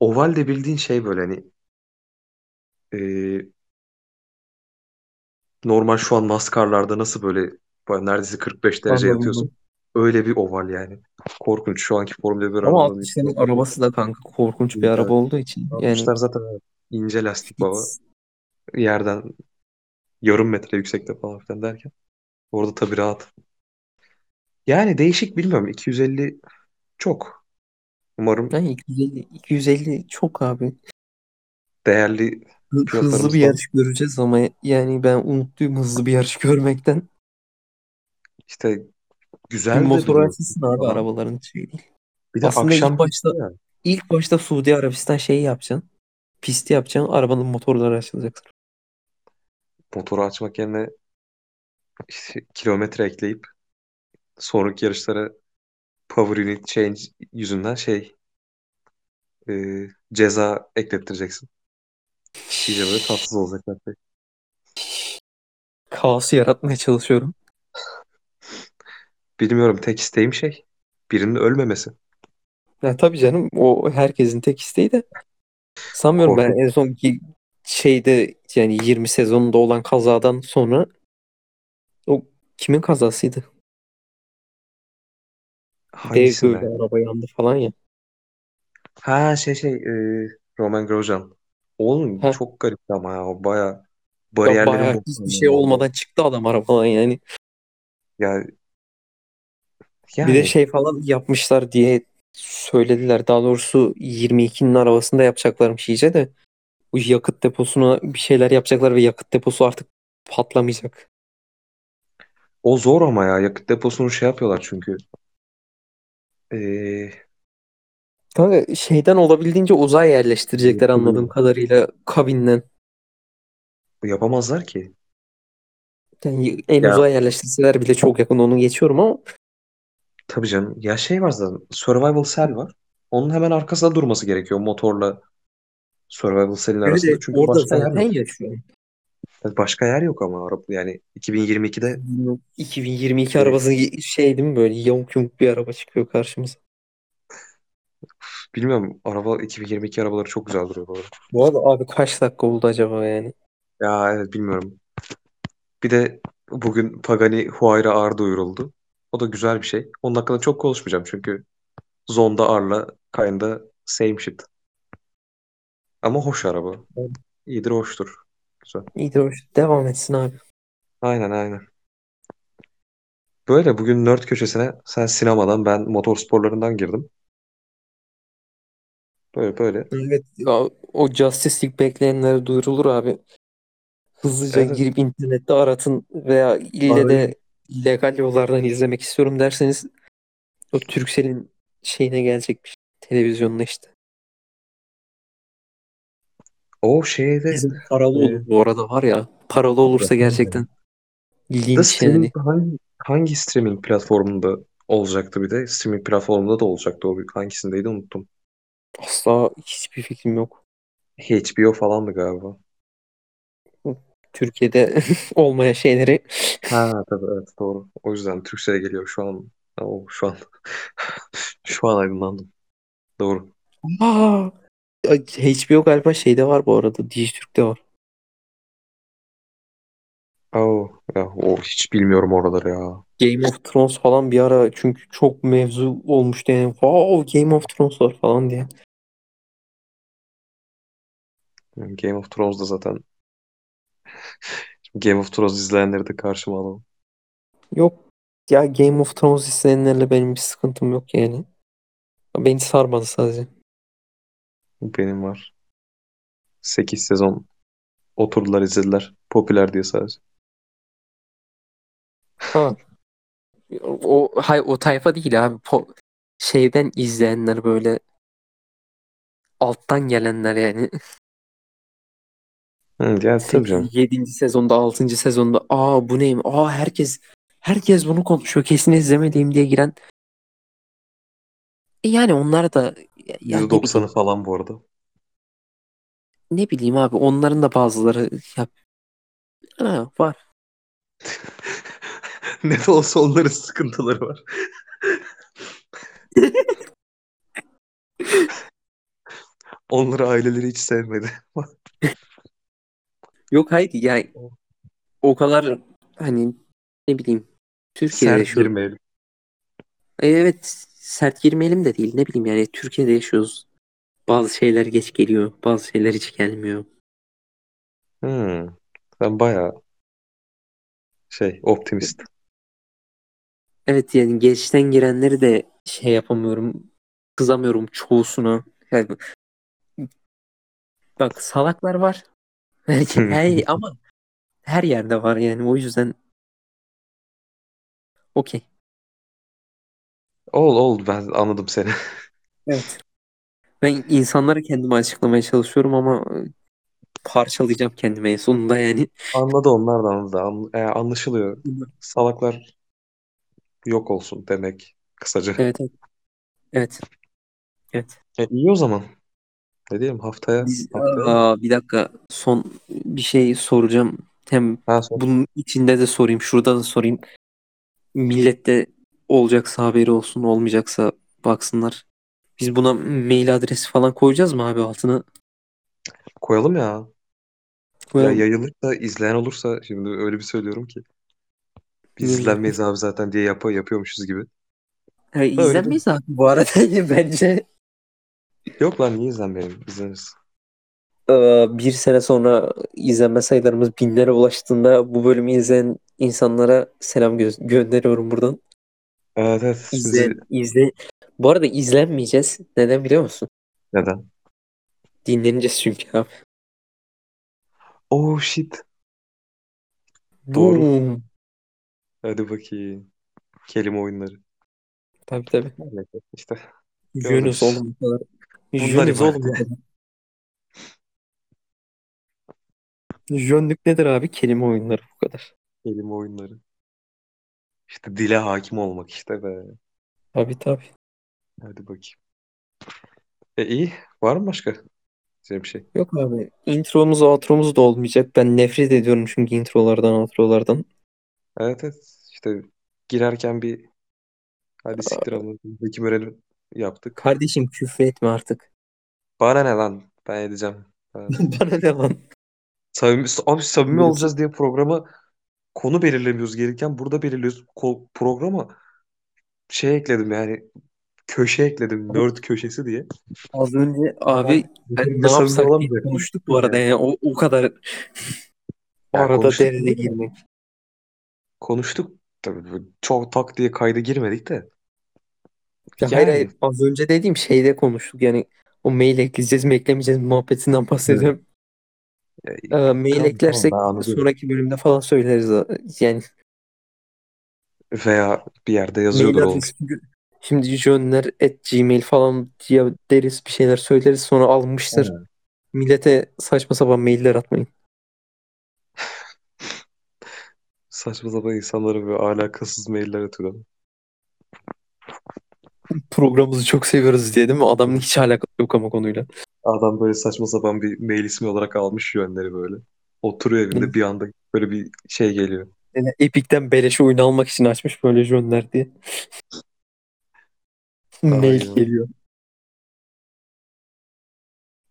Oval de bildiğin şey böyle hani e, normal şu an NASCAR'larda nasıl böyle baya neredeyse 45 derece Anladım. yatıyorsun. Öyle bir oval yani. Korkunç. Şu anki Formula 1 Ama arabalarının 60'ların arabası da kanka korkunç bir Evet. araba olduğu için. Yani 60'lar zaten evet, ince lastik baba. hiç- Yerden yarım metre yüksekte falan filan derken. Orada tabii rahat. Yani değişik bilmiyorum. 250 çok. Umarım yani 250, 250 çok abi. değerli Hı- Hızlı bir pilotlarımızdan yarış göreceğiz ama yani ben umutluyum hızlı bir yarış görmekten. işte Bir güzel de motor duruyor. açılsın abi Falan. arabaların şey değil. Bir de Aslında akşam ilk başta ya. ilk başta Suudi Arabistan şeyi yapacaksın. Pisti yapacaksın. Arabanın motorları açılacak. motoru açmak yerine işte kilometre ekleyip sonraki yarışlara power unit change yüzünden şey e, ceza eklettireceksin. İyice böyle tatsız olacaklar. Kaosu yaratmaya çalışıyorum. Bilmiyorum tek isteğim şey birinin ölmemesi. Ya tabii canım o herkesin tek isteği de sanmıyorum Korkunç. ben en son ki şeyde yani 20 sezonunda olan kazadan sonra o kimin kazasıydı? Dev Hangisinden? böyle araba yandı falan ya. Ha şey şey e, Roman Grosjean. Oğlum Heh. çok garip ama ya o baya Ya bariyerlerin bayağı hiçbir şey olmadan çıktı adam arabadan yani. Ya, Bir de yani şey falan yapmışlar diye söylediler. Daha doğrusu 22'nin arabasında yapacaklarmış iyice de. Bu yakıt deposuna bir şeyler yapacaklar ve yakıt deposu artık patlamayacak. o zor ama ya yakıt deposunu şey yapıyorlar çünkü. E, Kanka şeyden olabildiğince uzağa Hmm. yerleştirecekler anladığım kadarıyla kabinden. yapamazlar ki. Yani en Ya uzağa yerleştirseler bile çok yakın onu geçiyorum ama tabii canım. Ya şey var zaten Survival Cell var. Onun hemen arkasında durması gerekiyor motorla Survival Cell'in evet, arasında. evet, Çünkü orada başka yer zaten yok. ya şu an. Başka yer yok ama Avrupa yani 2022'de 2022 Evet. arabası şey değil mi böyle yamuk yumuk bir araba çıkıyor karşımıza. bilmiyorum araba 2022 arabaları çok güzel duruyor bu arada. Bu arada abi kaç dakika oldu acaba yani? Ya evet bilmiyorum. Bir de bugün Pagani Huayra Ar duyuruldu. O da güzel bir şey. Onun hakkında çok konuşmayacağım çünkü Zonda Arla kinda same shit. Ama hoş araba. İyidir hoştur. İyidir hoş. Devam etsin abi. Aynen aynen. Böyle bugün nerd köşesine sen sinemadan ben motorsporlarından girdim. Böyle böyle. Evet ya, o Justice League bekleyenlere duyurulur abi. Hızlıca Evet. girip internette aratın veya ille de legal yollardan izlemek istiyorum derseniz o Turkcell'in şeyine gelecekmiş. Televizyonuna işte. O şeyde Bizim paralı Ee, olur bu arada var ya. Paralı olursa gerçekten The linç yani. streaming hangi, hangi streaming platformunda olacaktı bir de? Streaming platformunda da olacaktı o. Hangisindeydi unuttum. Asla hiçbir fikrim yok. HBO falandı galiba. Türkiye'de olmayan şeyleri Ha tabii evet doğru. O yüzden Türkcell'e geliyor şu an. O şu an şu an aydınlandım. Doğru. Aa, HBO galiba şeyde var bu arada. Dijitürk'te var. Oo, ya, o hiç bilmiyorum oraları ya. Game of Thrones falan bir ara çünkü çok mevzu olmuştu yani. Wow Game of Thrones var falan diye. Game of Thrones'da zaten Game of Thrones izleyenleri de karşıma alalım. Yok ya Game of Thrones izleyenlerle benim bir sıkıntım yok yani. Beni sarmadı sadece. Benim var. 8 sezon oturdular izlediler. Popüler diye sadece. Ha. O hay o tayfa değil abi. Po- şeyden izleyenler böyle alttan gelenler yani. Hı, ya tabii canım. 7. sezonda 6. sezonda aa bu neyim? Aa herkes herkes bunu konuşuyor. Kesin izlemediğim diye giren. E yani onlar da ya- ya ne bileyim, %90'ı falan bu arada. ne bileyim abi onların da bazıları ya ha, var. Ne de olsa onların sıkıntıları var. Onları aileleri hiç sevmedi. Yok hayır yani o kadar hani ne bileyim Türkiye'de Sert yaşıyoruz. girmeyelim. E, evet sert girmeyelim de değil ne bileyim yani Türkiye'de yaşıyoruz. Bazı şeyler geç geliyor, bazı şeyler hiç gelmiyor. Hmm. Sen bayağı şey optimist. Evet yani geçten girenleri de şey yapamıyorum. Kızamıyorum çoğusuna. Yani bak salaklar var. Belki her, ama her yerde var yani o yüzden okey. Ol ol ben anladım seni. Evet. Ben insanları kendime açıklamaya çalışıyorum ama parçalayacağım kendime en sonunda yani. Anladı onlar da anladı. An- e, anlaşılıyor. Salaklar yok olsun demek kısaca. Evet evet. Evet. Evet. E, iyi o zaman. Ne diyeyim haftaya? Biz- haftaya mı? Aa, bir dakika son bir şey soracağım. Hem Ha, son- bunun içinde de sorayım, şurada da sorayım. Millette olacaksa haberi olsun, olmayacaksa baksınlar. Biz buna mail adresi falan koyacağız mı abi altına? koyalım ya. Ya Koyalım. yayılırsa izleyen olursa şimdi öyle bir söylüyorum ki. Biz Niye? izlenmeyiz abi zaten diye yapa yapıyormuşuz gibi. Ha, izlenmeyiz abi bu arada bence. Yok lan niye izlenmeyelim? İzleniriz. Ee, bir sene sonra izlenme sayılarımız binlere ulaştığında bu bölümü izleyen insanlara selam gö- gönderiyorum buradan. Evet evet. Bizi... İzle, izle. Bu arada izlenmeyeceğiz. Neden biliyor musun? Neden? Dinleneceğiz çünkü abi. Oh shit. Doğru. Boom. Hadi bakayım. Kelime oyunları. Tabii tabii. Neyse, İşte. Yunus Görürüz. oğlum bu kadar. Bunlar Yunus ibaret. oğlum bu kadar. Jönlük nedir abi? Kelime oyunları bu kadar. Kelime oyunları. İşte dile hakim olmak işte be. Tabii tabii. Hadi bakayım. E iyi. Var mı başka? Size bir şey. Yok abi. Intromuz outromuz da olmayacak. Ben nefret ediyorum çünkü introlardan outrolardan. Evet evet. İşte girerken bir hadi siktir alın. Hekim öğrenim yaptık. Kardeşim küfür etme artık. Bana ne lan? Ben edeceğim. Ben- Bana ne lan? Samimi, abi samimi Buyurun. olacağız diye programa konu belirlemiyoruz gelirken burada belirliyoruz. Ko- programa şey ekledim yani köşe ekledim. Nerd köşesi diye. Az önce abi ben ne Samimi yapsak diye olamayacak. konuştuk bu arada yani o, o kadar Ya arada konuştuk. derine girmek. Konuştuk. Tabii böyle çok tak diye kayda girmedik de. Ya Yani. hayır hayır az önce dediğim şeyde konuştuk yani o mail ekleyeceğiz mi eklemeyeceğiz mi muhabbetinden bahsediyorum. Ya, Ee, mail tamam, eklersek tamam, ben anladım. sonraki bölümde falan söyleriz yani. Veya bir yerde Mail yazıyordur olmuş. adresi çünkü şimdi jönler at gmail falan diye deriz bir şeyler söyleriz sonra almıştır. Millete saçma sapan mailler atmayın. Saçma sapan insanlara böyle alakasız mailler atıyor. Programımızı çok seviyoruz diye değil mi? Adamın hiç alakası yok ama konuyla. Adam böyle saçma sapan bir mail ismi olarak almış yönleri böyle. Oturuyor evinde bir anda böyle bir şey geliyor. Yani Epic'ten beleşe oyun almak için açmış böyle jönler diye. Mail Aynen. geliyor.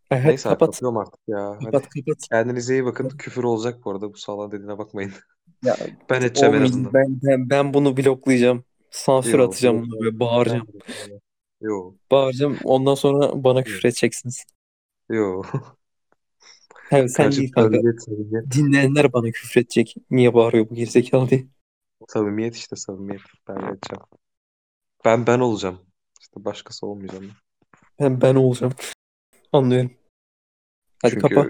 Ha, ha, Neyse abi, kapat. kapatıyorum artık ya. Hadi. Kapat kapat. Kendinize iyi bakın. Küfür olacak bu arada. Bu sağlam dediğine bakmayın. Ya, Ben edeceğim en Olmayacak. azından. Ben, ben, ben bunu bloklayacağım. Sansür Yok, atacağım yok. buna böyle bağıracağım. Yo. Bağıracağım ondan sonra bana küfür edeceksiniz. Yo. Sen, sen değil kanka. Samimiyet, samimiyet. Dinleyenler bana küfür edecek. Niye bağırıyor bu gerizekalı diye. Samimiyet işte samimiyet. Ben edeceğim. Ben ben olacağım. İşte başkası olmayacağım. Ben, ben olacağım. Anlıyorum. Hadi Çünkü kapa.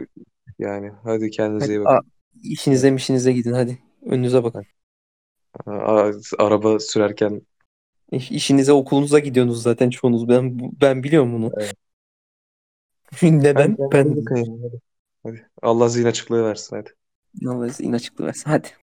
yani hadi kendinize Hadi, iyi a, bakın. işinize mişinize gidin hadi. Önünüze bakın. Aa, araba sürerken İş- İşinize okulunuza gidiyorsunuz zaten çoğunuz. Ben ben biliyorum bunu. Neden? Hadi kendinize Ben bakın. Hadi. Allah zihin açıklığı versin hadi. Allah'a izin açıklı versin. Hadi.